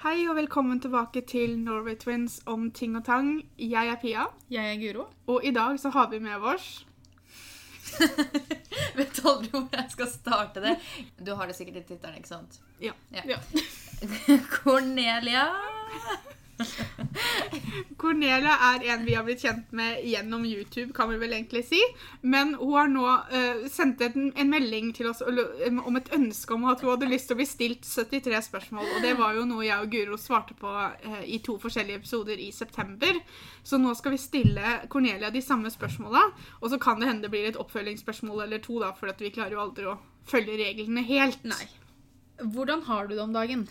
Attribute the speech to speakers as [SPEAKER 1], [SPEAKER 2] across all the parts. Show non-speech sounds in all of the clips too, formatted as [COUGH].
[SPEAKER 1] Hei og velkommen tilbake til Norway Twins om ting og tang. Jeg er Pia,
[SPEAKER 2] Jeg er Guro.
[SPEAKER 1] og i dag så har vi med oss
[SPEAKER 2] [LAUGHS] Vet aldri hvor jeg skal starte det. Du har det sikkert i tittelen, ikke sant?
[SPEAKER 1] Ja.
[SPEAKER 2] Ja.
[SPEAKER 1] Ja.
[SPEAKER 2] [LAUGHS] Cornelia.
[SPEAKER 1] Cornelia er en vi har blitt kjent med gjennom YouTube, kan vi vel egentlig si. Men hun har nå eh, sendt en, en melding til oss og lo- om et ønske om at hun hadde lyst til å bli stilt 73 spørsmål. Og det var jo noe jeg og Guro svarte på eh, i to forskjellige episoder i september. Så nå skal vi stille Cornelia de samme spørsmåla. Og så kan det hende det blir et oppfølgingsspørsmål eller to, da, for at vi klarer jo aldri å følge reglene helt.
[SPEAKER 3] Nei. Hvordan har du det om dagen?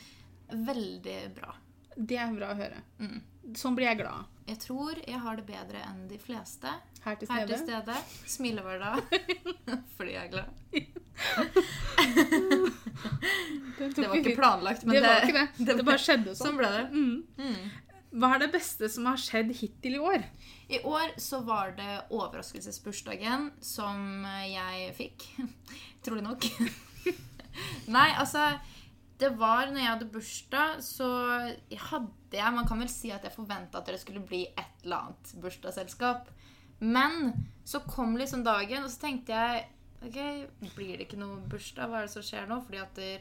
[SPEAKER 2] Veldig bra.
[SPEAKER 3] Det er bra å høre.
[SPEAKER 2] Mm.
[SPEAKER 3] Sånn blir jeg glad.
[SPEAKER 2] Jeg tror jeg har det bedre enn de fleste
[SPEAKER 3] Her til
[SPEAKER 2] her til
[SPEAKER 3] stede.
[SPEAKER 2] stede. Smiler hver dag [LAUGHS] fordi jeg er glad.
[SPEAKER 3] [LAUGHS]
[SPEAKER 2] Det var ikke planlagt, men
[SPEAKER 3] Det var ikke det.
[SPEAKER 2] [LAUGHS] det
[SPEAKER 3] Det bare skjedde sånn.
[SPEAKER 2] Sånn ble [LAUGHS] det.
[SPEAKER 3] Mm.
[SPEAKER 2] Mm.
[SPEAKER 3] Hva er det beste som har skjedd hittil i år?
[SPEAKER 2] I år så var det overraskelsesbursdagen som jeg fikk. [LAUGHS] Trolig nok. [LAUGHS] Nei, altså Det var når jeg hadde bursdag, så hadde jeg Man kan vel si at jeg forventa at det skulle bli et eller annet bursdagsselskap. Men så kom liksom dagen, og så tenkte jeg Ok, blir det ikke noe bursdag? Hva er det som skjer nå? Fordi at der,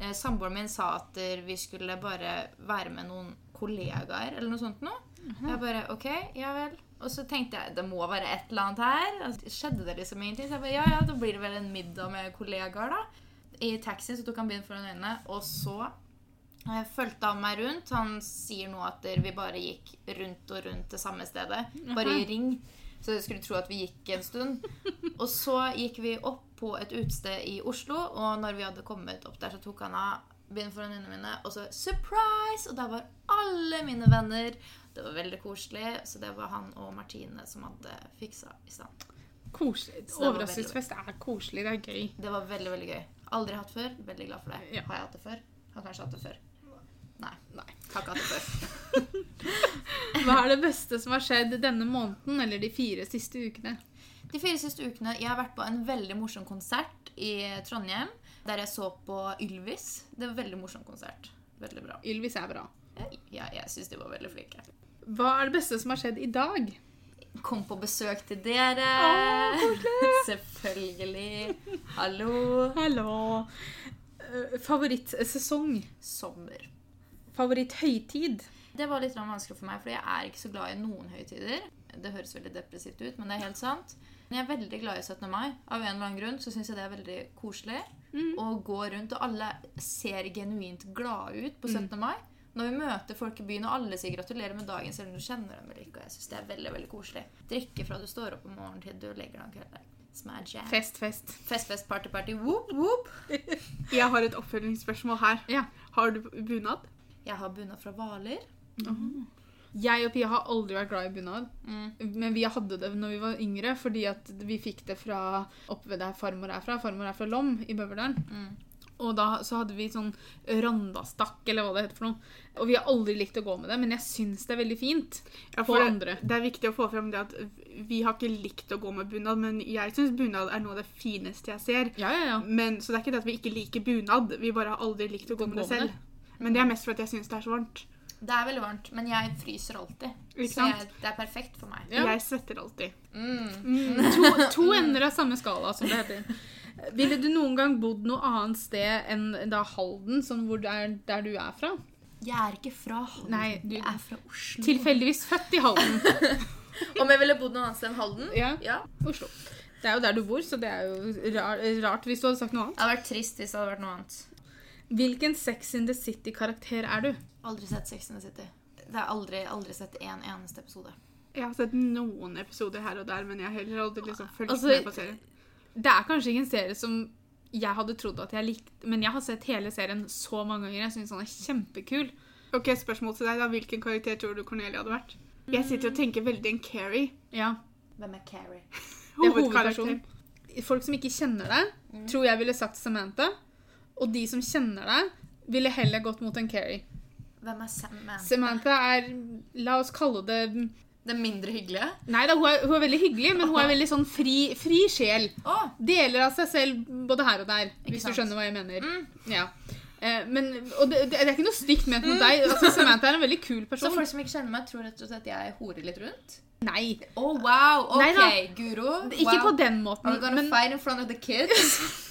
[SPEAKER 2] eh, samboeren min sa at der, vi skulle bare være med noen kollegaer eller noe sånt noe. Jeg bare OK, ja vel. Og så tenkte jeg det må være et eller annet her. Og så skjedde det liksom ingenting. Så jeg bare ja, ja, da blir det vel en middag med kollegaer, da. I taxien så tok han bilen foran øynene, og så eh, fulgte han meg rundt. Han sier nå at der vi bare gikk rundt og rundt det samme stedet. Bare i ring. Så jeg skulle tro at vi gikk en stund. Og så gikk vi opp på et utested i Oslo, og når vi hadde kommet opp der, så tok han av bilen foran øynene mine, og så surprise! Og der var alle mine venner. Det var veldig koselig. Så det var han og Martine som hadde fiksa i stand.
[SPEAKER 3] Koselig.
[SPEAKER 2] Så det var
[SPEAKER 3] Overraskelsesfest er koselig. Det er gøy.
[SPEAKER 2] Det var veldig, veldig gøy. Aldri hatt før. Veldig glad for det.
[SPEAKER 3] Ja.
[SPEAKER 2] Har jeg hatt det før? Har kanskje hatt det før. Nei.
[SPEAKER 3] Nei.
[SPEAKER 2] Har ikke hatt det før.
[SPEAKER 3] Hva er det beste som har skjedd denne måneden eller de fire siste ukene?
[SPEAKER 2] [LAUGHS] De fire siste ukene jeg har vært på en veldig morsom konsert i Trondheim. Der jeg så på Ylvis. Det var en veldig morsom konsert. Veldig bra.
[SPEAKER 3] Ylvis er bra.
[SPEAKER 2] Ja, jeg syns de var veldig flinke.
[SPEAKER 3] Hva er det beste som har skjedd i dag?
[SPEAKER 2] Kom på besøk til dere.
[SPEAKER 3] Å,
[SPEAKER 2] [LAUGHS] Selvfølgelig. Hallo.
[SPEAKER 3] Hallo. Eh, Favorittsesong?
[SPEAKER 2] Sommer.
[SPEAKER 3] Favoritthøytid?
[SPEAKER 2] Det var litt grann vanskelig for meg, for jeg er ikke så glad i noen høytider. Det høres veldig depressivt ut, men det er helt sant. Men jeg er veldig glad i 17. mai. Av en eller annen grunn så syns jeg det er veldig koselig
[SPEAKER 1] Mm.
[SPEAKER 2] å gå rundt, og alle ser genuint glade ut på
[SPEAKER 1] Mm.
[SPEAKER 2] 17. mai. Når vi møter folk i byen, og alle sier 'gratulerer med dagen', selv om du kjenner dem eller ikke. Og jeg syns det er veldig veldig koselig. Drikke fra du står opp om morgenen til du legger deg om kvelden. Som er jam.
[SPEAKER 3] Fest, fest.
[SPEAKER 2] Fest, fest, party, party. Whoop, whoop.
[SPEAKER 1] Jeg har et oppfølgingsspørsmål her.
[SPEAKER 3] Ja.
[SPEAKER 1] Har du bunad?
[SPEAKER 2] Jeg har bunad fra Hvaler.
[SPEAKER 3] Jeg og Pia har aldri vært glad i bunad.
[SPEAKER 2] Mm.
[SPEAKER 3] Men vi hadde det når vi var yngre, fordi at vi fikk det fra oppe ved der farmor er fra. Farmor er fra Lom i Bøverdalen.
[SPEAKER 2] Mm.
[SPEAKER 3] Og da så hadde vi sånn randastakk, eller hva det heter for noe. Og vi har aldri likt å gå med det, men jeg syns det er veldig fint.
[SPEAKER 1] Ja,
[SPEAKER 3] På
[SPEAKER 1] for det,
[SPEAKER 3] andre.
[SPEAKER 1] Det er viktig å få frem det at vi har ikke likt å gå med bunad, men jeg syns bunad er noe av det fineste jeg ser.
[SPEAKER 3] Ja, ja, [LAUGHS] ja.
[SPEAKER 1] Men, så det er ikke det at vi ikke liker bunad, vi bare har aldri likt å gå med det selv. Men det er mest fordi jeg syns det er så varmt.
[SPEAKER 2] Det er veldig varmt, men jeg fryser alltid.
[SPEAKER 1] Ikke
[SPEAKER 2] Så
[SPEAKER 1] sant?
[SPEAKER 2] jeg, det er perfekt for meg.
[SPEAKER 3] Ja.
[SPEAKER 1] Jeg svetter alltid.
[SPEAKER 2] Mm.
[SPEAKER 3] To, to ender av samme skala, som det heter. [LAUGHS] Ville du noen gang bodd noe annet sted enn da Halden, sånn hvor det er der du er fra? Mm.
[SPEAKER 2] Jeg er ikke fra Halden.
[SPEAKER 3] Nei, du-
[SPEAKER 2] Jeg er fra Oslo.
[SPEAKER 3] Tilfeldigvis født i Halden.
[SPEAKER 2] [LAUGHS] Om jeg ville bodd noe annet sted enn Halden?
[SPEAKER 3] Ja,
[SPEAKER 2] Ja.
[SPEAKER 3] Oslo. Det er jo der du bor, så det er jo rar- rart hvis du hadde sagt noe annet.
[SPEAKER 2] Det hadde vært trist hvis det hadde vært noe annet.
[SPEAKER 3] Hvilken Sex in the City-karakter er du?
[SPEAKER 2] Aldri sett Sex and the City. Det er aldri, aldri sett en eneste episode.
[SPEAKER 1] Jeg har sett noen episoder her og der, men jeg har heller aldri liksom fulgt
[SPEAKER 3] Altså,
[SPEAKER 1] med på serien.
[SPEAKER 3] Det er kanskje ikke en serie som jeg hadde trodd at jeg likte, men jeg har sett hele serien så mange ganger. Jeg syns han er kjempekul.
[SPEAKER 1] Ok, Spørsmål til deg, da. Hvilken karakter tror du Cornelia hadde vært? Jeg sitter og tenker veldig en Carrie.
[SPEAKER 3] Ja,
[SPEAKER 2] Hvem er Carrie?
[SPEAKER 3] det er
[SPEAKER 1] Hovedkarakter.
[SPEAKER 3] hovedpersonen. Folk som ikke kjenner deg, tror jeg ville sagt Samantha. Og de som kjenner deg, ville heller gått mot en Keri.
[SPEAKER 2] Hvem er Sam Man?
[SPEAKER 3] Samantha er La oss kalle det Nei
[SPEAKER 2] Den mindre hyggelige?
[SPEAKER 3] da, hun er, hun er veldig hyggelig, men hun er veldig sånn fri, fri sjel.
[SPEAKER 2] Å!
[SPEAKER 3] Deler av seg selv både her og der, hvis
[SPEAKER 2] sant?
[SPEAKER 3] du skjønner hva jeg mener.
[SPEAKER 2] Mm.
[SPEAKER 3] Ja. Eh, men, og det, det er ikke noe stygt ment mot deg. Altså, Samantha er en veldig kul
[SPEAKER 2] Så
[SPEAKER 3] person.
[SPEAKER 2] folk som ikke kjenner meg, tror rett og slett at jeg horer litt rundt?
[SPEAKER 3] Nei,
[SPEAKER 2] Å, wow! Ok,
[SPEAKER 3] Nei da.
[SPEAKER 2] Guro.
[SPEAKER 3] ikke
[SPEAKER 2] wow.
[SPEAKER 3] på den måten.
[SPEAKER 2] Are we gonna
[SPEAKER 3] Men,
[SPEAKER 2] fight in front of the kids?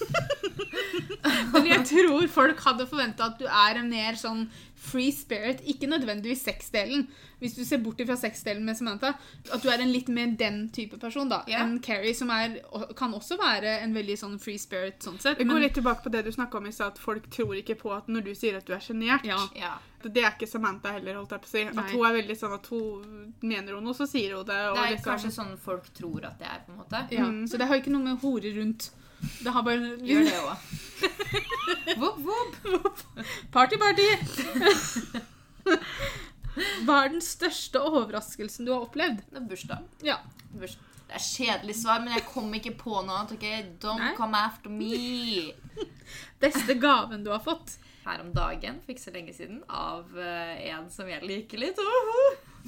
[SPEAKER 3] men [LAUGHS] jeg tror folk hadde forventa at du er en mer sånn free spirit. Ikke nødvendigvis sexdelen, hvis du ser bort fra sexdelen med Samantha. At du er en litt mer den type person da,
[SPEAKER 2] Ja.
[SPEAKER 3] enn Carrie, som er, kan også være en veldig sånn free spirit. sånn sett.
[SPEAKER 1] Det går
[SPEAKER 3] men-
[SPEAKER 1] litt tilbake på det du snakka om i stad, at folk tror ikke på at når du sier at du er sjenert
[SPEAKER 3] Ja.
[SPEAKER 2] [LAUGHS] ja.
[SPEAKER 1] Det er ikke Samantha heller, holdt jeg på å si.
[SPEAKER 3] Nei.
[SPEAKER 1] At hun er veldig sånn at hun mener hun noe, så sier hun det. Og
[SPEAKER 2] Det er
[SPEAKER 1] liksom,
[SPEAKER 2] kanskje sånn folk tror at det er, på en måte.
[SPEAKER 3] Ja, Så det har ikke noe med hore rundt. Mm. Det har
[SPEAKER 2] Gjør
[SPEAKER 3] bare
[SPEAKER 2] det òg. Vop, vop.
[SPEAKER 3] Party, party! [LAUGHS] Hva er den største overraskelsen du har opplevd?
[SPEAKER 2] Det er bursdag.
[SPEAKER 3] Ja.
[SPEAKER 2] Burs- Det er kjedelig svar, men jeg kom ikke på noe annet. ok? Don't
[SPEAKER 3] Nei.
[SPEAKER 2] come after me.
[SPEAKER 3] Beste gaven du har fått?
[SPEAKER 2] Her om dagen, for ikke så lenge siden, av eh, en som jeg liker litt. Oho!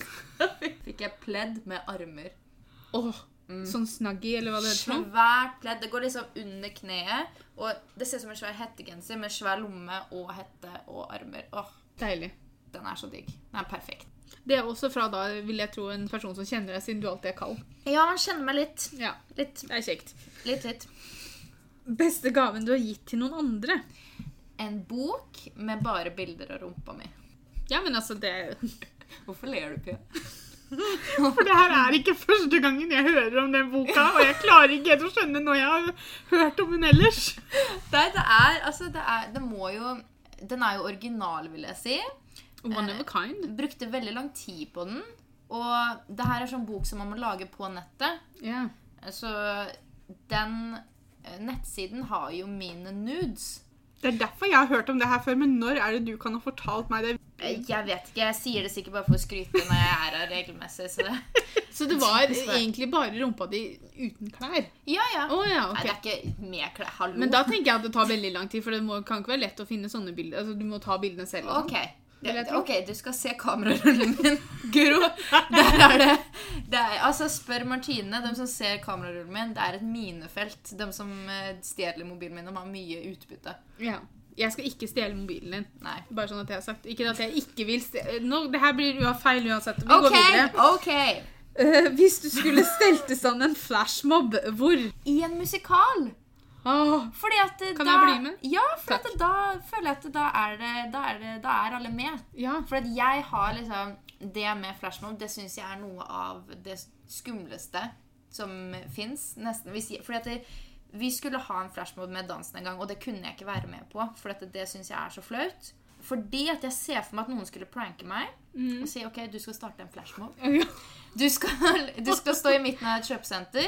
[SPEAKER 2] [LAUGHS] Fikk jeg pledd med armer.
[SPEAKER 3] Åh, Sånn snaggy, eller hva det heter. for noe?
[SPEAKER 2] Svært pledd. Det går liksom under kneet. Og det ser ut som en svær hettegenser med svær lomme og hette og armer. Åh,
[SPEAKER 3] Deilig.
[SPEAKER 2] Den er så digg. Den er perfekt.
[SPEAKER 3] Det er også fra da, vil jeg tro, en person som kjenner deg, siden du alltid er kald.
[SPEAKER 2] Ja, man kjenner meg litt.
[SPEAKER 3] Ja,
[SPEAKER 2] Litt,
[SPEAKER 3] det er kjekt.
[SPEAKER 2] litt, litt.
[SPEAKER 3] Beste gaven du har gitt til noen andre?
[SPEAKER 2] En bok med bare bilder av rumpa mi.
[SPEAKER 3] Ja, men altså, det
[SPEAKER 2] Hvorfor ler du, Pia?
[SPEAKER 1] For det her er ikke første gangen jeg hører om den boka, og jeg klarer ikke helt å skjønne når jeg har hørt om den ellers.
[SPEAKER 2] Nei, det er Altså, det er Det må jo Den er jo original, vil jeg si.
[SPEAKER 3] One of a kind.
[SPEAKER 2] Brukte veldig lang tid på den. Og det her er sånn bok som man må lage på nettet.
[SPEAKER 3] Ja.
[SPEAKER 2] Så den eh, nettsiden har jo mine nudes.
[SPEAKER 1] Det er derfor jeg har hørt om det her før, men når er det du kan ha fortalt meg det?
[SPEAKER 2] Eh, Jeg vet ikke. Jeg sier det sikkert bare for å skryte når jeg er her regelmessig. Så det
[SPEAKER 3] Så det var egentlig bare rumpa di uten klær?
[SPEAKER 2] Ja, ja.
[SPEAKER 3] Å ja,
[SPEAKER 2] Nei,
[SPEAKER 3] ok.
[SPEAKER 2] det er ikke med klær. Hallo.
[SPEAKER 3] Men da tenker jeg at det tar veldig lang tid, for det må, kan ikke være lett å finne sånne bilder. Altså, du må ta bildene selv. og sånn.
[SPEAKER 2] Ok.
[SPEAKER 3] Vil jeg
[SPEAKER 2] Det-
[SPEAKER 3] tro.
[SPEAKER 2] ok, du skal se kamerarullen min. [LAUGHS] Guro, der er det, det er, Altså, spør Martine. De som ser kamerarullen min, det er et minefelt. De som eh, stjeler mobilen min, de har mye utbytte.
[SPEAKER 3] Ja. Jeg skal ikke stjele mobilen din.
[SPEAKER 2] Nei. Nei.
[SPEAKER 3] Bare sånn at jeg har sagt. Ikke at jeg ikke vil stjele Nå, Det her blir ua- feil uansett. Vi
[SPEAKER 2] OK,
[SPEAKER 3] går videre.
[SPEAKER 2] OK.
[SPEAKER 3] Eh, hvis du skulle stelt i stand en flashmob, hvor?
[SPEAKER 2] I en musikal.
[SPEAKER 3] Åh,
[SPEAKER 2] Fordi at eh,
[SPEAKER 3] Kan
[SPEAKER 2] da
[SPEAKER 3] jeg bli med?
[SPEAKER 2] Ja, for at da føler jeg at da er, det, da, er det, da er alle med.
[SPEAKER 3] ja.
[SPEAKER 2] For at jeg har liksom Det med flashmob, det syns jeg er noe av det skumleste som fins. Nesten. Hvis jeg, fordi at det, vi skulle ha en flashmob med dansen en gang, og det kunne jeg ikke være med på. For at det syns jeg er så flaut. Fordi at jeg ser for meg at noen skulle pranke meg og si OK, du skal starte en flashmob. Du skal, du skal stå i midten av et kjøpesenter.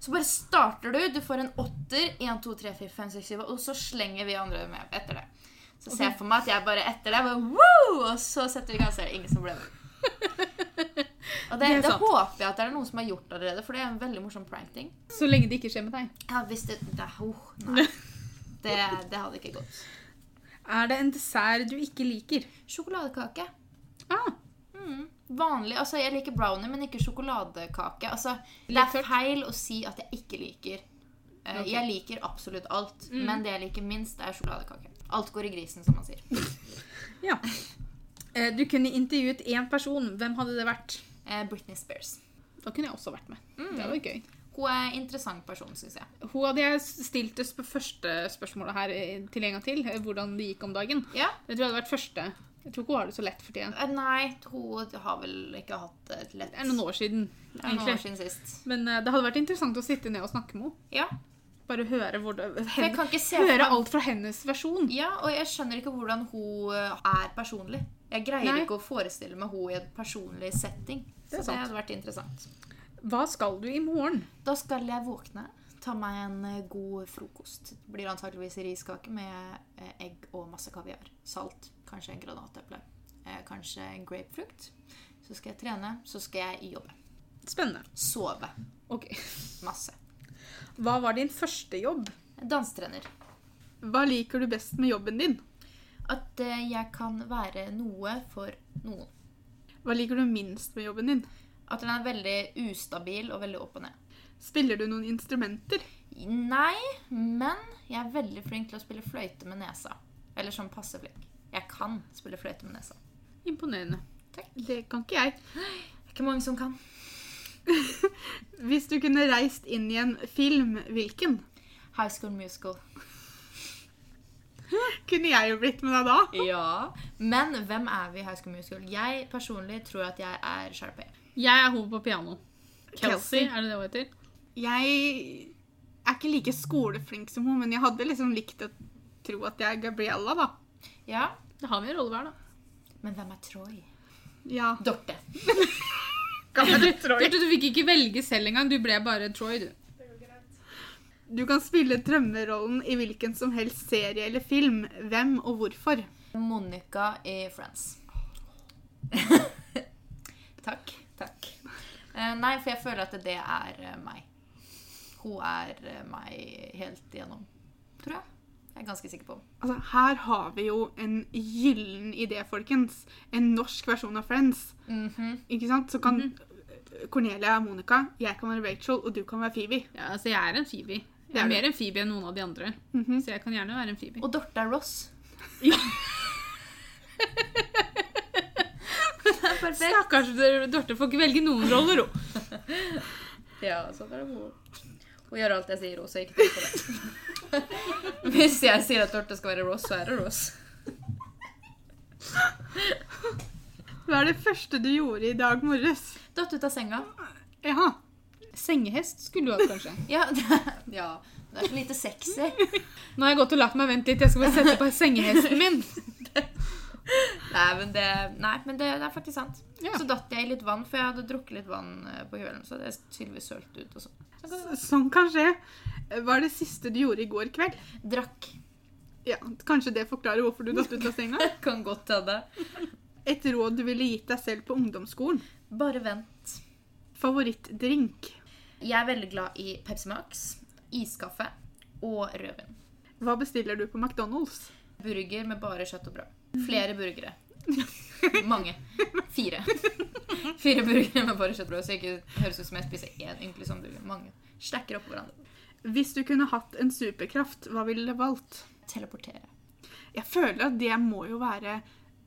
[SPEAKER 2] Så bare starter du. Du får en åtter. 1, 2, 3, 4, 5, 6, 7, og så slenger vi andre med etter det. Så ser jeg for meg at jeg bare etter det bare, Woo! Og så setter vi i gang, så er det ingen som ble [LAUGHS] med. Og det,
[SPEAKER 3] Det er
[SPEAKER 2] det,
[SPEAKER 3] sant.
[SPEAKER 2] håper jeg at det er noen som har gjort allerede, for det er en veldig morsom prank-ting.
[SPEAKER 3] Så lenge det ikke skjer med deg.
[SPEAKER 2] Ja, hvis det, det, oh, [LAUGHS] nei. det, det hadde ikke gått.
[SPEAKER 3] Er det en dessert du ikke liker?
[SPEAKER 2] Sjokoladekake.
[SPEAKER 3] Ah,
[SPEAKER 2] Vanlig, altså Jeg liker brownie, men ikke sjokoladekake. Altså, Det
[SPEAKER 3] Litt
[SPEAKER 2] er
[SPEAKER 3] tørt.
[SPEAKER 2] feil å si at jeg ikke liker. Eh, Jeg liker absolutt alt, men det jeg liker minst, er sjokoladekake. Alt går i grisen, som man sier.
[SPEAKER 3] ja. Eh, du kunne intervjuet én person. Hvem hadde det vært? Mm.
[SPEAKER 2] Eh, Britney Spears.
[SPEAKER 3] Da kunne jeg også vært med. Det var gøy.
[SPEAKER 2] Hun er en interessant person, syns jeg.
[SPEAKER 3] Hun hadde jeg stilt det sp- første spørsmålet her eh, til en gang til. eh, Hvordan det gikk om dagen.
[SPEAKER 2] Ja.
[SPEAKER 3] Jeg tror jeg hadde vært første. Jeg tror ikke hun har det så lett for tiden.
[SPEAKER 2] Eh, Nei, hun har vel ikke hatt et lett
[SPEAKER 3] Det er noen år siden,
[SPEAKER 2] Det er noen år
[SPEAKER 3] egentlig.
[SPEAKER 2] siden sist.
[SPEAKER 3] Men eh, det hadde vært interessant å sitte ned og snakke med henne.
[SPEAKER 2] Ja.
[SPEAKER 3] Bare høre, hvor det,
[SPEAKER 2] For jeg
[SPEAKER 3] hen,
[SPEAKER 2] kan ikke se for
[SPEAKER 3] høre
[SPEAKER 2] meg
[SPEAKER 3] alt fra hennes versjon.
[SPEAKER 2] Ja, og jeg skjønner ikke hvordan hun eh, er personlig. Jeg greier
[SPEAKER 3] Nei.
[SPEAKER 2] ikke å forestille meg hun i en personlig setting.
[SPEAKER 3] Det er
[SPEAKER 2] Så det
[SPEAKER 3] sant.
[SPEAKER 2] hadde vært interessant.
[SPEAKER 3] Hva skal du i morgen?
[SPEAKER 2] Da skal jeg våkne, ta meg en eh, god frokost. Det blir antakeligvis riskake med eh, egg og masse kaviar. Salt. Kanskje en granateple. eh, Kanskje en grapefrukt. Så skal jeg trene, så skal jeg jobbe.
[SPEAKER 3] Spennende.
[SPEAKER 2] Sove.
[SPEAKER 3] Ok.
[SPEAKER 2] Masse.
[SPEAKER 3] Hva var din første jobb?
[SPEAKER 2] Dansetrener.
[SPEAKER 1] Hva liker du best med jobben din?
[SPEAKER 2] At eh, jeg kan være noe for noen.
[SPEAKER 1] Hva liker du minst med jobben din?
[SPEAKER 2] At den er veldig ustabil og veldig opp og ned.
[SPEAKER 1] Spiller du noen instrumenter?
[SPEAKER 2] Nei, men jeg er veldig flink til å spille fløyte med nesa. Jeg Eller sånn passe flink. Jeg kan spille fløyte med nesa.
[SPEAKER 3] Imponerende.
[SPEAKER 2] Takk.
[SPEAKER 1] Det kan ikke jeg.
[SPEAKER 2] Det er ikke mange som kan.
[SPEAKER 1] Hvis du kunne reist inn i en film, hvilken?
[SPEAKER 2] High School Musical. [LAUGHS]
[SPEAKER 1] Kunne jeg jo blitt med deg da?
[SPEAKER 2] Ja. Men hvem er vi i High School Musical? Jeg personlig tror at jeg er Sharpay.
[SPEAKER 3] Jeg er hodet på piano. Kelsey,
[SPEAKER 1] Kelsey.
[SPEAKER 3] er det det hun heter?
[SPEAKER 1] Jeg er ikke like skoleflink som hun, men jeg hadde liksom likt å tro at jeg er Gabriella, da.
[SPEAKER 2] Ja.
[SPEAKER 3] Da har vi en rolle hver, da.
[SPEAKER 2] Men hvem er Troy?
[SPEAKER 1] Ja.
[SPEAKER 2] Dorte.
[SPEAKER 3] Du, du fikk ikke velge selv engang. Du ble bare Troy, du.
[SPEAKER 1] Du kan spille drømmerollen i hvilken som helst serie eller film. Hvem og hvorfor?
[SPEAKER 2] Monica i Friends. [LAUGHS] takk. Takk. Eh, nei, for jeg føler at det er eh, meg. Hun er eh, meg helt igjennom. Tror jeg. Jeg er ganske sikker på.
[SPEAKER 1] Altså, her har vi jo en gyllen idé, folkens. En norsk versjon av Friends. Ikke sant? Så kan Cornelia er Monica, jeg kan være Rachel, og du kan være Phoebe.
[SPEAKER 3] Ja, altså, jeg er en Phoebe.
[SPEAKER 1] Det
[SPEAKER 3] Jeg
[SPEAKER 1] er
[SPEAKER 3] er
[SPEAKER 1] du.
[SPEAKER 3] mer en Phoebe enn noen av de andre. Så jeg kan gjerne være en Phoebe.
[SPEAKER 2] Og Dorte er Ross. [LAUGHS] Perfekt.
[SPEAKER 3] Stakkars Dorte får ikke velge noen [LAUGHS] roller, hun.
[SPEAKER 2] Ja, sånn er det hun. Hun gjør alt jeg sier, hun, så ikke tenk på det. [LAUGHS] Hvis jeg sier at Dorte skal være Ross, så er det Ross.
[SPEAKER 1] Hva er det første du gjorde i dag morges?
[SPEAKER 2] Datt ut av senga.
[SPEAKER 1] Ja.
[SPEAKER 3] Sengehest skulle du hatt, kanskje.
[SPEAKER 2] Ja, det, [LAUGHS] ja, det er så lite sexy.
[SPEAKER 3] Nå har jeg gått og lagt meg. Vent litt, jeg skal bare sette på sengehesten [LAUGHS] min.
[SPEAKER 2] Nei, men det, nei, men det, det er faktisk sant.
[SPEAKER 3] Ja.
[SPEAKER 2] Så datt jeg i litt vann, for jeg hadde drukket litt vann eh, på kvelden. Så det er tydeligvis sølt ut og sånn. Så kan det
[SPEAKER 1] Sånn kan skje. Hva er det siste du gjorde i går kveld?
[SPEAKER 2] være. Drakk. [LAUGHS]
[SPEAKER 1] Ja, Kanskje det forklarer hvorfor du datt ut av senga?
[SPEAKER 2] Kan godt ta det.
[SPEAKER 1] Et råd du ville gitt deg selv på ungdomsskolen?
[SPEAKER 2] Bare vent.
[SPEAKER 1] Favorittdrink?
[SPEAKER 2] Jeg er veldig glad i Pepsi Max, iskaffe og rødvin.
[SPEAKER 1] Hva bestiller du på McDonald's?
[SPEAKER 2] Burger med bare kjøtt og brød. Flere burgere. Mange. Fire. [LAUGHS] Fire burgere med bare kjøtt og brød, så jeg ikke høres ut som jeg spiser én ynkelig sånn burger. Mange. Stacker oppå hverandre.
[SPEAKER 1] Hvis du kunne hatt en superkraft, hva ville du valgt?
[SPEAKER 2] Teleportere.
[SPEAKER 1] Jeg føler at det må jo være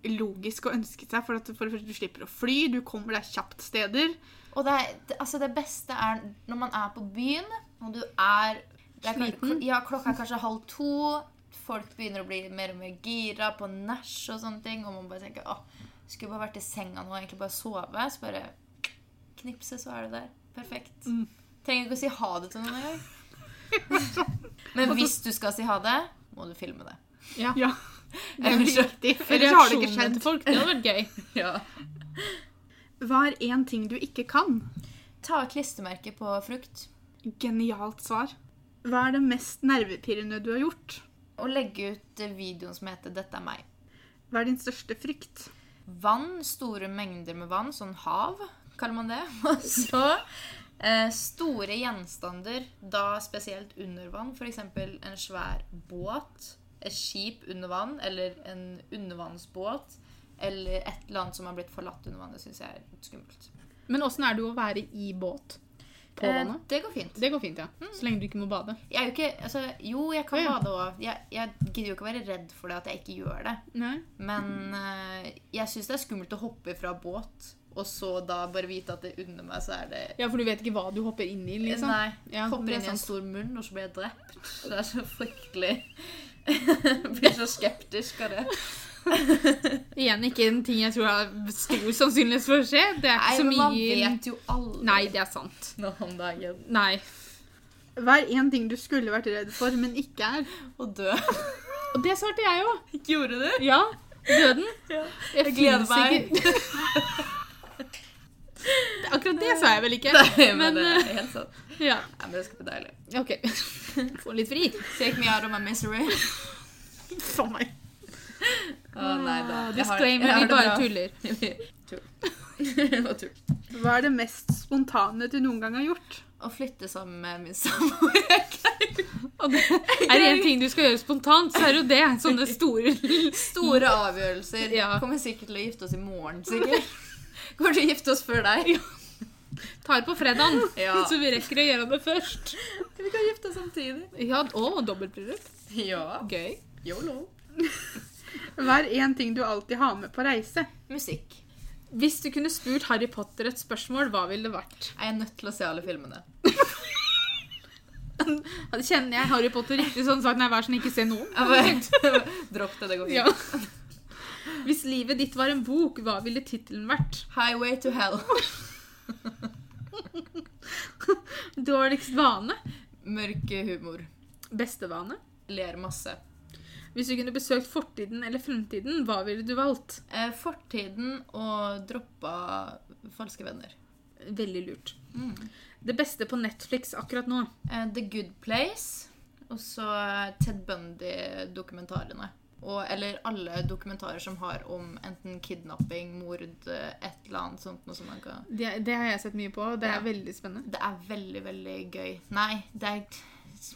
[SPEAKER 1] logisk å ønske seg, for, at for det første du slipper å fly, du kommer deg kjapt steder.
[SPEAKER 2] Og det, er- det, altså det beste er når man er på byen, og du er det er kanskje-
[SPEAKER 3] Sliten.
[SPEAKER 2] Ja, klokka er kanskje halv to. Folk begynner å bli mer og mer gira på nach og sånne ting. Og man bare tenker åh, skulle bare vært i senga nå og egentlig bare sove. Så bare knipse, så er du der. Perfekt. Trenger ikke å si ha det til noen engang. Men hvis du skal si ha det, må du filme det.
[SPEAKER 1] Ja, [LAUGHS] det er
[SPEAKER 2] Ellers så-
[SPEAKER 1] viktig. Ellers har det ikke
[SPEAKER 3] Reaksjonene
[SPEAKER 1] skjedd.
[SPEAKER 3] til folk, det hadde vært [LAUGHS] gøy.
[SPEAKER 2] Ja.
[SPEAKER 1] Hva er én ting du ikke kan?
[SPEAKER 2] Ta klistremerke på frukt.
[SPEAKER 1] Genialt svar. Hva er det mest nervepirrende du har gjort?
[SPEAKER 2] Og legge ut eh, videoen som heter 'Dette er meg'.
[SPEAKER 1] Hva er din største frykt?
[SPEAKER 2] vann, store mengder med vann, sånn hav, kaller man det. [LAUGHS] Og så eh, store gjenstander, da spesielt under vann, f.eks. en svær båt, et skip under vann, eller en undervannsbåt, eller et eller annet som har blitt forlatt under vann. Det syns jeg er skummelt.
[SPEAKER 3] Men åssen er det å være i båt? På
[SPEAKER 2] Eh,
[SPEAKER 3] vannet?
[SPEAKER 2] det går fint.
[SPEAKER 3] Det går fint, ja. Så lenge du ikke må bade.
[SPEAKER 2] Jeg er jo ikke Altså, jo, jeg kan
[SPEAKER 3] Å, ja.
[SPEAKER 2] bade òg. Jeg, jeg gidder jo ikke å være redd for det at jeg ikke gjør det.
[SPEAKER 3] Nei.
[SPEAKER 2] Men eh, jeg syns det er skummelt å hoppe fra båt, og så da bare vite at det under meg, så er det
[SPEAKER 3] Ja, for du vet ikke hva du hopper inn i, liksom.
[SPEAKER 2] Nei.
[SPEAKER 3] Ja,
[SPEAKER 2] Hopper
[SPEAKER 3] det er
[SPEAKER 2] inn i en
[SPEAKER 3] sant.
[SPEAKER 2] stor munn, og så blir jeg drept. Det er så fryktelig [LAUGHS] Blir så skeptisk av det.
[SPEAKER 3] Igjen ikke en ting jeg tror er stor sannsynlighet for å skje. Det er
[SPEAKER 2] Nei,
[SPEAKER 3] ikke så
[SPEAKER 2] men man
[SPEAKER 3] mye
[SPEAKER 2] vet jo aldri
[SPEAKER 3] Nei, det er sant.
[SPEAKER 2] nå om dagen
[SPEAKER 3] Nei.
[SPEAKER 1] Hva er én ting du skulle vært redd for, men ikke er?
[SPEAKER 2] å dø.
[SPEAKER 3] Og det svarte jeg jo.
[SPEAKER 2] Gjorde du?
[SPEAKER 3] Ja. Døden.
[SPEAKER 2] Ja.
[SPEAKER 3] Jeg,
[SPEAKER 2] gleder
[SPEAKER 3] finnes
[SPEAKER 2] meg.
[SPEAKER 3] Ikke. Akkurat det sa jeg vel ikke.
[SPEAKER 2] Nei, men,
[SPEAKER 3] men
[SPEAKER 2] det
[SPEAKER 3] eh,
[SPEAKER 2] er helt sant.
[SPEAKER 3] ja.
[SPEAKER 2] Nei, men det skal bli deilig.
[SPEAKER 3] OK. Få litt fri.
[SPEAKER 2] Take me out of my misery.
[SPEAKER 1] For meg.
[SPEAKER 2] Å nei da. Jeg har- jeg
[SPEAKER 3] Disclaimer,
[SPEAKER 2] har
[SPEAKER 3] vi
[SPEAKER 2] det
[SPEAKER 3] bare
[SPEAKER 2] bra. [LAUGHS]
[SPEAKER 3] tuller.
[SPEAKER 2] Tull. Det var tull.
[SPEAKER 1] Hva er det mest spontane du noen gang har gjort?
[SPEAKER 2] Å flytte sammen med min [LAUGHS] samboer.
[SPEAKER 3] Og det er det én ting du skal gjøre spontant, så er det jo det. Sånne store [LAUGHS]
[SPEAKER 2] Store avgjørelser.
[SPEAKER 3] Ja.
[SPEAKER 2] Kommer sikkert til å gifte oss i morgen, sikkert. [LAUGHS] Kommer til å gifte oss før deg.
[SPEAKER 3] Tar på fredagen,
[SPEAKER 2] Ja.
[SPEAKER 3] så vi rekker å gjøre det først.
[SPEAKER 2] Vi kan gifte oss samtidig.
[SPEAKER 3] Ja, Å, dobbeltbryllup.
[SPEAKER 2] Ja.
[SPEAKER 3] Gøy.
[SPEAKER 2] YOLO.
[SPEAKER 1] Hva er én ting du alltid har med på reise?
[SPEAKER 2] Musikk.
[SPEAKER 3] Hvis du kunne spurt Harry Potter et spørsmål, hva ville det vært?
[SPEAKER 2] Er jeg nødt til å se alle
[SPEAKER 3] [LAUGHS]
[SPEAKER 2] filmene?
[SPEAKER 3] Ja, det Kjenner jeg Harry Potter riktig sånn sagt, nei, vær sånn, ikke se noen?
[SPEAKER 2] Dropp det, det går fint.
[SPEAKER 3] Ja. Hvis livet ditt var en bok, hva ville tittelen vært?
[SPEAKER 2] Highway to hell.
[SPEAKER 3] Dårligst vane?
[SPEAKER 2] Mørk humor.
[SPEAKER 3] Beste vane?
[SPEAKER 2] Ler masse.
[SPEAKER 3] Hvis du kunne besøkt fortiden eller fremtiden, hva ville du valgt?
[SPEAKER 2] Eh, fortiden og droppa falske venner.
[SPEAKER 3] Veldig lurt. Det beste på Netflix akkurat nå.
[SPEAKER 2] Eh, The Good Place. Og så eh, Ted Bundy-dokumentarene. Og, eller alle dokumentarer som har om enten kidnapping, mord, eh, et eller annet sånt. Noe som man kan...
[SPEAKER 3] Det, det har jeg sett mye på. Det er
[SPEAKER 2] Ja.
[SPEAKER 3] veldig spennende.
[SPEAKER 2] Det er veldig, veldig gøy. Nei, det er,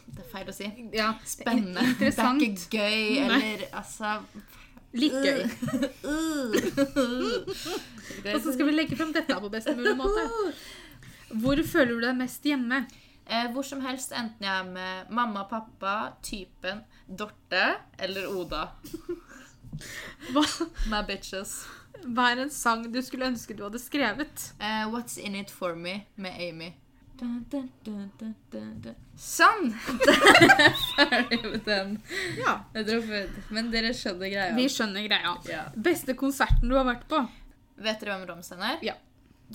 [SPEAKER 2] det er feil å si.
[SPEAKER 3] Ja,
[SPEAKER 2] Spennende. Det er
[SPEAKER 3] Interessant.
[SPEAKER 2] ikke gøy, eller altså Øh.
[SPEAKER 3] Litt
[SPEAKER 2] [LAUGHS]
[SPEAKER 3] gøy. Og så
[SPEAKER 2] gøy.
[SPEAKER 3] skal vi legge frem dette på best mulig [LAUGHS] måte. Hvor føler du deg mest hjemme?
[SPEAKER 2] Eh, hvor som helst, enten jeg er med mamma, pappa, typen, Dorte eller Oda.
[SPEAKER 3] Hva,
[SPEAKER 2] My bitches.
[SPEAKER 3] hva er en sang du skulle ønske du hadde skrevet?
[SPEAKER 2] Eh, What's in it for me med Amy. Dun, dun, dun, dun, dun, dun. Sånn! [LAUGHS] Da er jeg ferdig med den.
[SPEAKER 1] Ja.
[SPEAKER 2] Jeg dropper ut. Men dere skjønner greia.
[SPEAKER 3] Vi skjønner greia.
[SPEAKER 2] Ja.
[SPEAKER 3] Beste konserten du har vært på?
[SPEAKER 2] Vet dere hvem Romsen er?
[SPEAKER 3] Ja.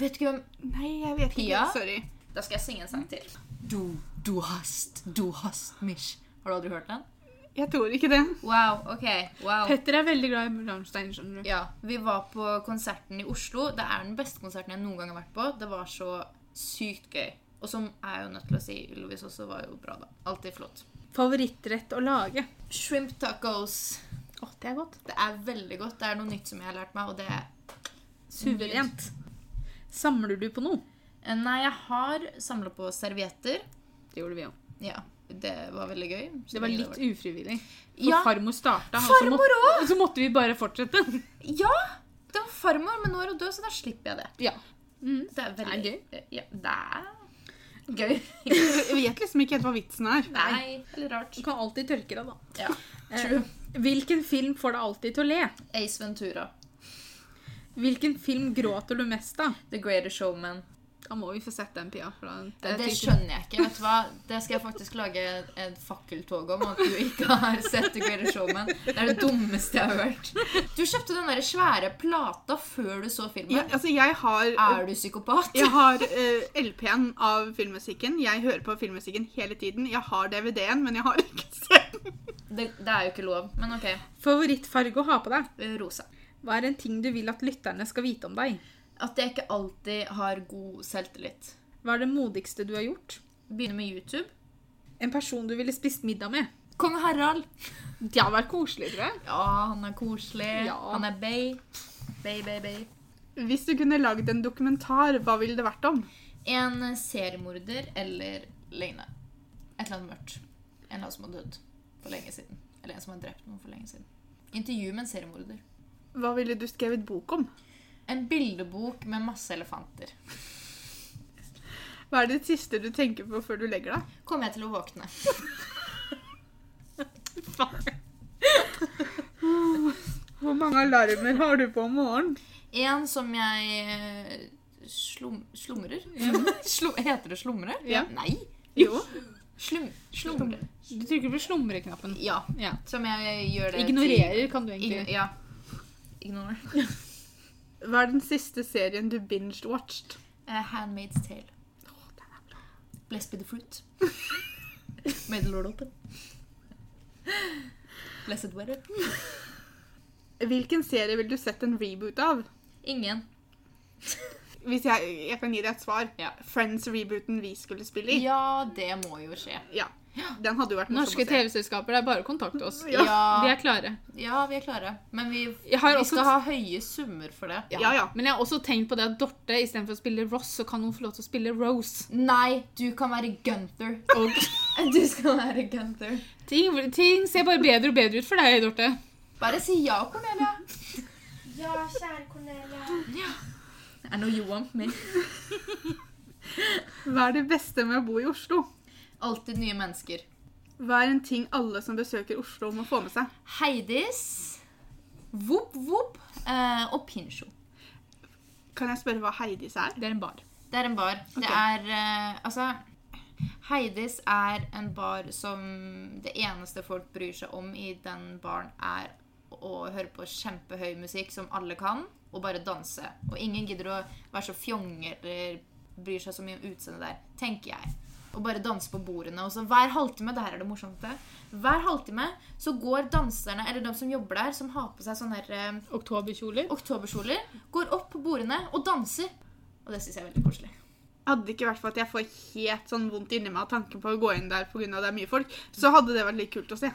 [SPEAKER 2] Vet du hvem
[SPEAKER 1] Nei, jeg vet ikke.
[SPEAKER 2] Pia?
[SPEAKER 1] Sorry.
[SPEAKER 2] Da skal jeg synge en sang til. Du, du hast, du hast mich. Har du aldri hørt den?
[SPEAKER 1] Jeg tror ikke det.
[SPEAKER 2] Wow, ok, wow.
[SPEAKER 3] Petter er veldig glad i Rammstein, skjønner du.
[SPEAKER 2] Ja, vi var på konserten i Oslo. Det er den beste konserten jeg noen gang har vært på. Det var så sykt gøy. Og som er jeg jo nødt til å si, Ylvis også var jo bra da. Altid flott.
[SPEAKER 3] Favorittrett å lage?
[SPEAKER 2] Shrimp tacos.
[SPEAKER 3] Å, det er godt.
[SPEAKER 2] Det er veldig godt. Det er noe nytt som jeg har lært meg, og det er...
[SPEAKER 3] Suverent. Samler du på noe?
[SPEAKER 2] Nei, jeg har samlet på servietter.
[SPEAKER 3] Det gjorde vi òg.
[SPEAKER 2] Ja, det var veldig gøy. Så
[SPEAKER 3] Det var
[SPEAKER 2] lenge
[SPEAKER 3] litt ufrivillig. For
[SPEAKER 2] Ja.
[SPEAKER 3] farmor starta, og så
[SPEAKER 2] Farmor
[SPEAKER 3] måtte- og så måtte vi bare fortsette.
[SPEAKER 2] Ja! Det var farmor, men nå er hun død, så da slipper jeg det. Mm.
[SPEAKER 3] Ja.
[SPEAKER 2] Det er veldig
[SPEAKER 3] Det
[SPEAKER 2] Ja, det er gøy.
[SPEAKER 1] Jeg vet liksom ikke helt hva vitsen er.
[SPEAKER 2] Nei. Eller rart.
[SPEAKER 3] Du kan alltid tørke deg, da.
[SPEAKER 2] Ja.
[SPEAKER 3] Eh, hvilken film får deg alltid til å le?
[SPEAKER 2] Ace Ventura.
[SPEAKER 3] Hvilken film gråter du mest av?
[SPEAKER 2] The Greater Showman.
[SPEAKER 3] Da må vi få sett den, Pia. For da-
[SPEAKER 2] Det,
[SPEAKER 3] det er
[SPEAKER 2] skjønner jeg ikke. vet du hva? Det skal jeg faktisk lage et fakkeltog om, at du ikke har sett The Greater Showman. Det er det dummeste jeg har hørt. Du kjøpte den der svære plata før du så
[SPEAKER 1] Ja,
[SPEAKER 2] filmen.
[SPEAKER 1] altså, jeg har
[SPEAKER 2] Er du psykopat?
[SPEAKER 1] jeg har eh, LP-en av filmmusikken. Jeg hører på filmmusikken hele tiden. Jeg har DVD-en, men jeg har ikke sett den.
[SPEAKER 2] Det, det er jo ikke lov. Men OK.
[SPEAKER 3] Favorittfarge å ha på deg?
[SPEAKER 2] Rosa.
[SPEAKER 3] Hva er en ting du vil at lytterne skal vite om deg?
[SPEAKER 2] At jeg ikke alltid har god selvtillit.
[SPEAKER 3] Hva er det modigste du har gjort?
[SPEAKER 2] Begynner med YouTube.
[SPEAKER 3] En person du ville spist middag med?
[SPEAKER 2] Kong Harald.
[SPEAKER 3] Det hadde vært koselig, tror jeg.
[SPEAKER 2] Ja, han er koselig.
[SPEAKER 3] Ja.
[SPEAKER 2] Han er bay. Bay, bay, bay.
[SPEAKER 1] Hvis du kunne lagd en dokumentar, hva ville det vært om?
[SPEAKER 2] En seriemorder eller lignende. Et eller annet mørkt. En eller annen som har dødd for lenge siden. Eller en som har drept noen for lenge siden. Intervju med en seriemorder.
[SPEAKER 1] Hva ville du skrevet bok om?
[SPEAKER 2] En bildebok med masse elefanter.
[SPEAKER 1] Hva er det siste du tenker på før du legger deg?
[SPEAKER 2] Kommer jeg til å våkne?
[SPEAKER 1] Hvor mange alarmer har du på om morgenen?
[SPEAKER 2] En som jeg eh, slum, slumrer? [LAUGHS] Slum, heter det slumre?
[SPEAKER 3] Ja.
[SPEAKER 2] Nei!
[SPEAKER 1] Jo.
[SPEAKER 2] Slum, slumre.
[SPEAKER 3] Du trykker på slumreknappen.
[SPEAKER 2] Ja.
[SPEAKER 3] Ja.
[SPEAKER 2] Som jeg gjør det til-
[SPEAKER 3] Ignorerer kan du
[SPEAKER 2] Igno-
[SPEAKER 3] egentlig.
[SPEAKER 2] ja. Ignore.
[SPEAKER 1] Hva er den siste serien du binged-watched?
[SPEAKER 2] Eh, Handmaid's Tale. Blessed be the fruit. [LAUGHS] May the Lord open. Blessed weather.
[SPEAKER 1] Hvilken serie ville du sett en reboot av?
[SPEAKER 2] Ingen.
[SPEAKER 1] Hvis jeg, jeg kan gi deg et svar.
[SPEAKER 2] Ja.
[SPEAKER 1] Friends-rebooten vi skulle spille i.
[SPEAKER 2] Ja, det må jo skje.
[SPEAKER 1] Ja. Den hadde jo vært morsom å
[SPEAKER 3] Norske
[SPEAKER 1] se.
[SPEAKER 3] TV-selskaper, det er bare å kontakte oss.
[SPEAKER 1] Ja.
[SPEAKER 2] Ja,
[SPEAKER 3] Vi er klare.
[SPEAKER 2] ja, vi er klare. Men vi,
[SPEAKER 3] Jeg har
[SPEAKER 2] vi
[SPEAKER 3] også
[SPEAKER 2] skal ha høye summer for det.
[SPEAKER 1] Ja, ja.
[SPEAKER 3] Men jeg har også tenkt på det at Dorte istedenfor å spille Ross, så kan hun få lov til å spille Rose.
[SPEAKER 2] Nei, du kan være Gunther.
[SPEAKER 3] [LAUGHS] Og
[SPEAKER 2] Du skal være Gunther.
[SPEAKER 3] ting, ting ser bare bedre og bedre ut for deg, Dorte.
[SPEAKER 2] Bare si ja, Cornelia.
[SPEAKER 4] Ja, kjære Cornelia.
[SPEAKER 2] I know you want me.
[SPEAKER 1] Hva er det beste med å bo i Oslo?
[SPEAKER 2] Alltid nye mennesker.
[SPEAKER 1] Hva er en ting alle som besøker Oslo, må få med seg?
[SPEAKER 2] Heidis, Vop Vop eh, og Pincho.
[SPEAKER 1] Kan jeg spørre hva Heidis er?
[SPEAKER 3] Det er en bar.
[SPEAKER 2] Det er en bar.
[SPEAKER 1] Ok.
[SPEAKER 2] Det er eh, Altså, Heidis er en bar som det eneste folk bryr seg om i den baren, er å høre på kjempehøy musikk som alle kan, og bare danse. Og ingen gidder å være så fjonge eller bryr seg så mye om utseendet der, tenker jeg. Og bare danse på bordene. Og så hver halvtime det her er det morsomste, hver halvtime så går danserne, eller de som jobber der, som har på seg sånn her eh,
[SPEAKER 3] Oktoberkjoler.
[SPEAKER 2] oktoberkjoler, går opp på bordene og danser. Og det syns jeg er veldig koselig.
[SPEAKER 1] Hadde det ikke vært for at jeg får helt sånn vondt inni meg av tanken på å gå inn der pga. det er mye folk, så hadde det vært litt kult å se.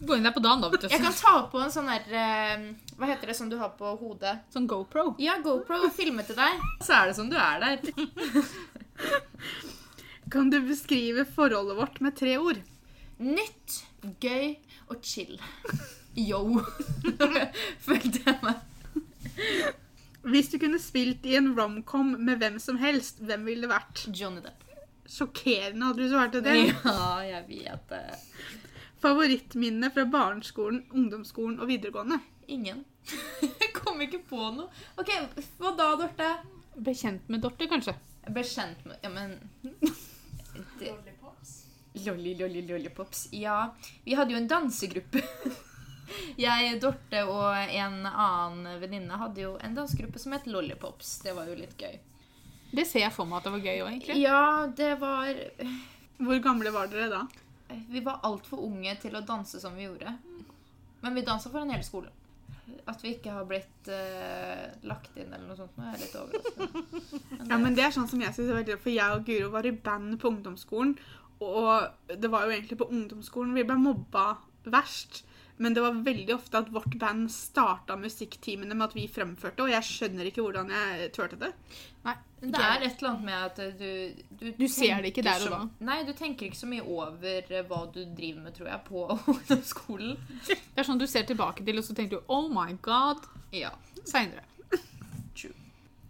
[SPEAKER 3] Gå inn der på dagen, da. vet du.
[SPEAKER 2] Jeg kan ta på en sånn der eh, Hva heter det som du har på hodet?
[SPEAKER 3] Sånn GoPro.
[SPEAKER 2] Ja, GoPro og filme til deg. Så er det
[SPEAKER 3] sånn
[SPEAKER 2] som du er der.
[SPEAKER 1] Kan du beskrive forholdet vårt med tre ord?
[SPEAKER 2] Nytt, gøy og chill. Yo. [LAUGHS] Følte jeg meg.
[SPEAKER 1] Hvis du kunne spilt i en romcom med hvem som helst, hvem ville det vært?
[SPEAKER 2] Johnny Depp.
[SPEAKER 1] Sjokkerende hadde du svart det.
[SPEAKER 2] Ja, jeg vet det.
[SPEAKER 1] Favorittminne fra barneskolen, ungdomsskolen og videregående?
[SPEAKER 2] Ingen. [LAUGHS] Jeg kom ikke på noe. OK, hva da, Dorte?
[SPEAKER 3] Ble kjent med Dorte, kanskje.
[SPEAKER 2] Jeg ble kjent med Ja, men det,
[SPEAKER 4] Lollipops.
[SPEAKER 2] Lolly, lolly, lollipops. Ja, vi hadde jo en dansegruppe. [LAUGHS] Jeg, Dorte og en annen venninne hadde jo en dansegruppe som het Lollipops. Det var jo litt gøy.
[SPEAKER 3] Det ser jeg for meg at det var gøy òg, egentlig.
[SPEAKER 2] Ja, det var
[SPEAKER 1] Hvor gamle var dere da?
[SPEAKER 2] Vi var altfor unge til å danse som vi gjorde. Men vi dansa foran hele skolen. At vi ikke har blitt eh, lagt inn eller noe sånt, nå er jeg litt overrasket.
[SPEAKER 1] Ja, men det er sånn som jeg synes er veldig For jeg og Guro var i band på ungdomsskolen, og det var jo egentlig på ungdomsskolen vi ble mobba verst. Men det var veldig ofte at vårt band starta musikktimene med at vi fremførte, og jeg skjønner ikke hvordan jeg turte det.
[SPEAKER 3] Nei,
[SPEAKER 2] Det er et eller annet med at eh, du Du,
[SPEAKER 3] Du ser det ikke
[SPEAKER 2] tenker
[SPEAKER 3] der og
[SPEAKER 2] så- Nei, du tenker ikke så mye over eh, hva du driver med, tror jeg, på [LAUGHS] ungdomsskolen.
[SPEAKER 3] det er sånn du ser tilbake til, og så tenker du 'oh my god'
[SPEAKER 2] Ja.
[SPEAKER 3] seinere.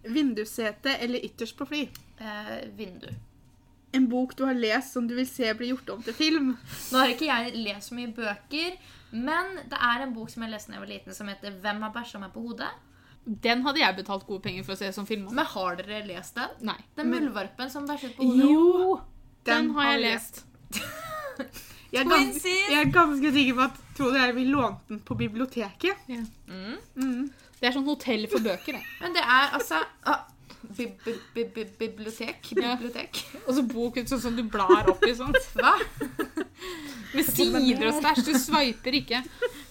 [SPEAKER 1] Vindussete eller ytterst på fly?
[SPEAKER 2] Eh, vindu.
[SPEAKER 1] En bok du har lest som du vil se bli gjort om til film?
[SPEAKER 2] Nå har ikke jeg lest så mye bøker, men det er en bok som jeg leste da jeg var liten, som heter 'Hvem har bæsja meg på hodet?'
[SPEAKER 3] Den hadde jeg betalt gode penger for å se som film om.
[SPEAKER 2] Men har dere lest den?
[SPEAKER 3] Nei.
[SPEAKER 2] Den muldvarpen som bæsjet på hodet.
[SPEAKER 3] Jo! Den har jeg
[SPEAKER 1] jeg-
[SPEAKER 3] lest.
[SPEAKER 1] Jeg er, gans,
[SPEAKER 2] Twinsies!
[SPEAKER 1] jeg er ganske sikker på at Tror dere vi lånte den på biblioteket?
[SPEAKER 2] Mm.
[SPEAKER 1] Mm.
[SPEAKER 3] Det er sånn hotell for bøker, det.
[SPEAKER 2] Men det er altså ah, bi bi bi bi bibliotek.
[SPEAKER 3] Ja.
[SPEAKER 2] Bibliotek.
[SPEAKER 3] Og så bok ut sånn som du blar opp i sånt. [LAUGHS]
[SPEAKER 2] Hva?
[SPEAKER 3] Med sider og stæsj. Du sveiper ikke.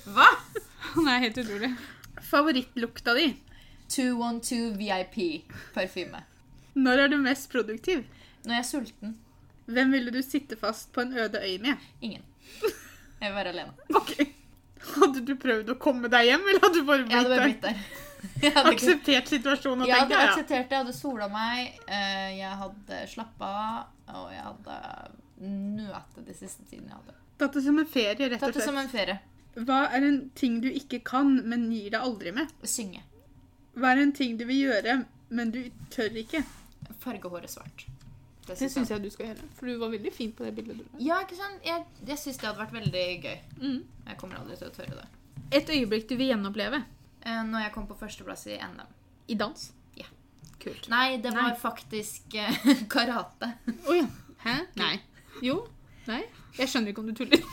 [SPEAKER 2] Hva?
[SPEAKER 3] Det er helt utrolig.
[SPEAKER 1] Favorittlukta di?
[SPEAKER 2] 212 VIP-parfyme.
[SPEAKER 1] Når er du mest produktiv?
[SPEAKER 2] Når jeg er sulten.
[SPEAKER 1] Hvem ville du sitte fast på en øde øy med?
[SPEAKER 2] Ingen. Jeg vil være [LAUGHS] alene.
[SPEAKER 1] Ok. Hadde du prøvd å komme deg hjem, eller hadde du bare
[SPEAKER 2] Jeg hadde
[SPEAKER 1] blitt
[SPEAKER 2] bare
[SPEAKER 1] der?
[SPEAKER 2] blitt der. [LAUGHS] Jeg hadde ikke
[SPEAKER 1] Akseptert situasjonen og
[SPEAKER 2] Jeg
[SPEAKER 1] tenkt
[SPEAKER 2] hadde
[SPEAKER 1] ja, ja.
[SPEAKER 2] akseptert det. Jeg hadde sola meg, eh, jeg hadde slappa av, og jeg hadde nøtt de siste tidene jeg hadde.
[SPEAKER 1] Tatt det som en ferie, rett
[SPEAKER 2] Tatt
[SPEAKER 1] og
[SPEAKER 2] det som
[SPEAKER 1] slett.
[SPEAKER 2] en ferie.
[SPEAKER 1] Hva er en ting du ikke kan, men gir deg aldri med?
[SPEAKER 2] Synge.
[SPEAKER 1] Hva er en ting du vil gjøre, men du tør ikke?
[SPEAKER 2] Farge håret svart.
[SPEAKER 3] Det syns jeg du skal gjøre, for du var veldig fin på det bildet. du la.
[SPEAKER 2] Ja, ikke sant? Jeg, jeg syns det hadde vært veldig gøy. Jeg kommer aldri til å tørre det.
[SPEAKER 3] Mm. Et øyeblikk du vil gjenoppleve.
[SPEAKER 2] Eh, Når jeg kom på førsteplass i NM.
[SPEAKER 3] I dans.
[SPEAKER 2] Ja.
[SPEAKER 3] Kult.
[SPEAKER 2] Nei, det var
[SPEAKER 3] Nei.
[SPEAKER 2] faktisk eh, [LAUGHS] karate.
[SPEAKER 3] Å ja. Hæ? Nei. Jo. Nei. Jeg skjønner ikke om du [LAUGHS] tuller.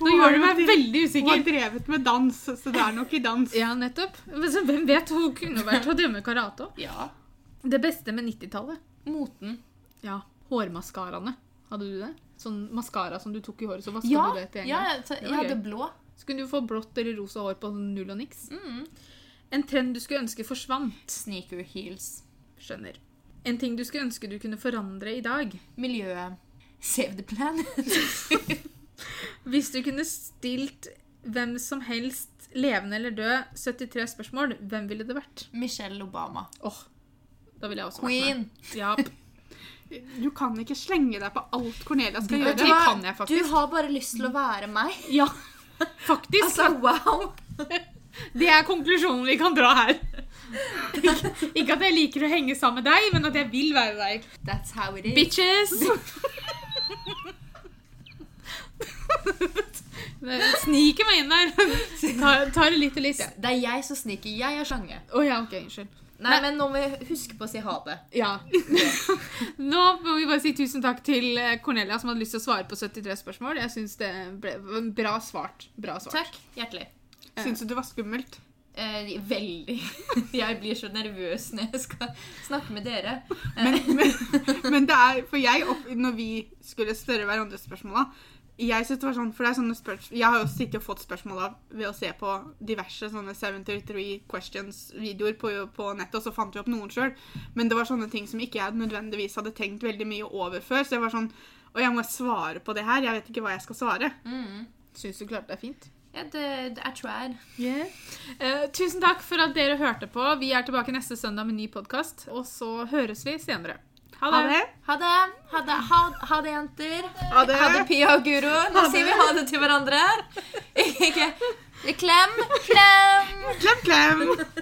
[SPEAKER 3] Nå gjør du meg veldig
[SPEAKER 1] Hun har
[SPEAKER 3] usikker.
[SPEAKER 1] drevet med dans, så det er nok i dans.
[SPEAKER 3] Ja, nettopp. Men så hvem vet? Hun kunne vært til å drømme karate òg.
[SPEAKER 2] Ja.
[SPEAKER 3] Det beste med 90-tallet.
[SPEAKER 2] Moten.
[SPEAKER 3] Ja. Hårmaskaraene. Hadde du det? Sånn maskara som du tok i håret, så vaska
[SPEAKER 2] Ja,
[SPEAKER 3] du det
[SPEAKER 2] ja,
[SPEAKER 3] til en gang.
[SPEAKER 2] jeg, ta-
[SPEAKER 3] Det
[SPEAKER 2] jeg
[SPEAKER 3] var
[SPEAKER 2] hadde
[SPEAKER 3] gøy.
[SPEAKER 2] blå.
[SPEAKER 3] Så kunne du få blått eller rosa hår på sånn null og niks.
[SPEAKER 2] Mm.
[SPEAKER 3] En trend du skulle ønske forsvant.
[SPEAKER 2] Sneaker heels.
[SPEAKER 3] Skjønner. En ting du skulle ønske du kunne forandre i dag.
[SPEAKER 2] Miljøet. Save the planet. [LAUGHS]
[SPEAKER 3] Hvis du kunne stilt hvem som helst, levende eller død, 73 spørsmål, hvem ville det vært?
[SPEAKER 2] Michelle Obama.
[SPEAKER 3] Åh, da ville jeg også vært med.
[SPEAKER 2] Queen.
[SPEAKER 3] Ja,
[SPEAKER 2] [LAUGHS]
[SPEAKER 1] Du kan ikke slenge deg på alt Cornelia skal gjøre.
[SPEAKER 3] Vet du hva? kan jeg faktisk.
[SPEAKER 2] Du har bare lyst til å være meg. [LAUGHS]
[SPEAKER 3] ja, faktisk.
[SPEAKER 2] Altså, wow!
[SPEAKER 3] det er konklusjonen vi kan dra her. [LAUGHS] Ikke, ikke at jeg liker å henge sammen med deg, men at jeg vil være deg.
[SPEAKER 2] That's how it is.
[SPEAKER 3] Bitches! Jeg Sniker meg inn der. Tar, tar det litt og litt.
[SPEAKER 2] Det er jeg som sniker. Jeg er slange.
[SPEAKER 3] Å ja, ok, unnskyld.
[SPEAKER 2] Nei, men nå må vi huske på å si ha det.
[SPEAKER 3] Ja. Nå må vi bare si tusen takk til eh, Cornelia som hadde lyst til å svare på 73 spørsmål. Jeg syns det ble var bra svart. Bra svart.
[SPEAKER 2] Takk. Hjertelig.
[SPEAKER 1] Syns du det var skummelt?
[SPEAKER 2] Eh, veldig. [LAUGHS] Jeg blir så nervøs når jeg skal snakke med dere.
[SPEAKER 1] Men, men, men det er For jeg, opp- når vi skulle spørre hverandre spørsmål da, jeg synes det var sånn, for det er sånne spørs- jeg har jo sittet og fått spørsmål av ved å se på diverse sånne 73 questions-videoer på, på nettet, og så fant vi opp noen sjøl. Men det var sånne ting som ikke jeg nødvendigvis hadde tenkt veldig mye over før. Så jeg var sånn Og jeg må svare på det her. Jeg vet ikke hva jeg skal svare.
[SPEAKER 2] Mm.
[SPEAKER 3] Syns du klarte deg fint?
[SPEAKER 2] Ja, det, det er tried.
[SPEAKER 3] Eh, tusen takk for at dere hørte på. Vi er tilbake neste søndag med en ny podkast. Og så høres vi senere.
[SPEAKER 1] Ha det.
[SPEAKER 2] Ha det. Ha det, ha, ha det jenter.
[SPEAKER 1] Ha det.
[SPEAKER 2] Ha det, Pia og Guro. Nå sier vi ha det [LAUGHS] til hverandre. Ikke Klem. Klem.
[SPEAKER 1] Klem, klem.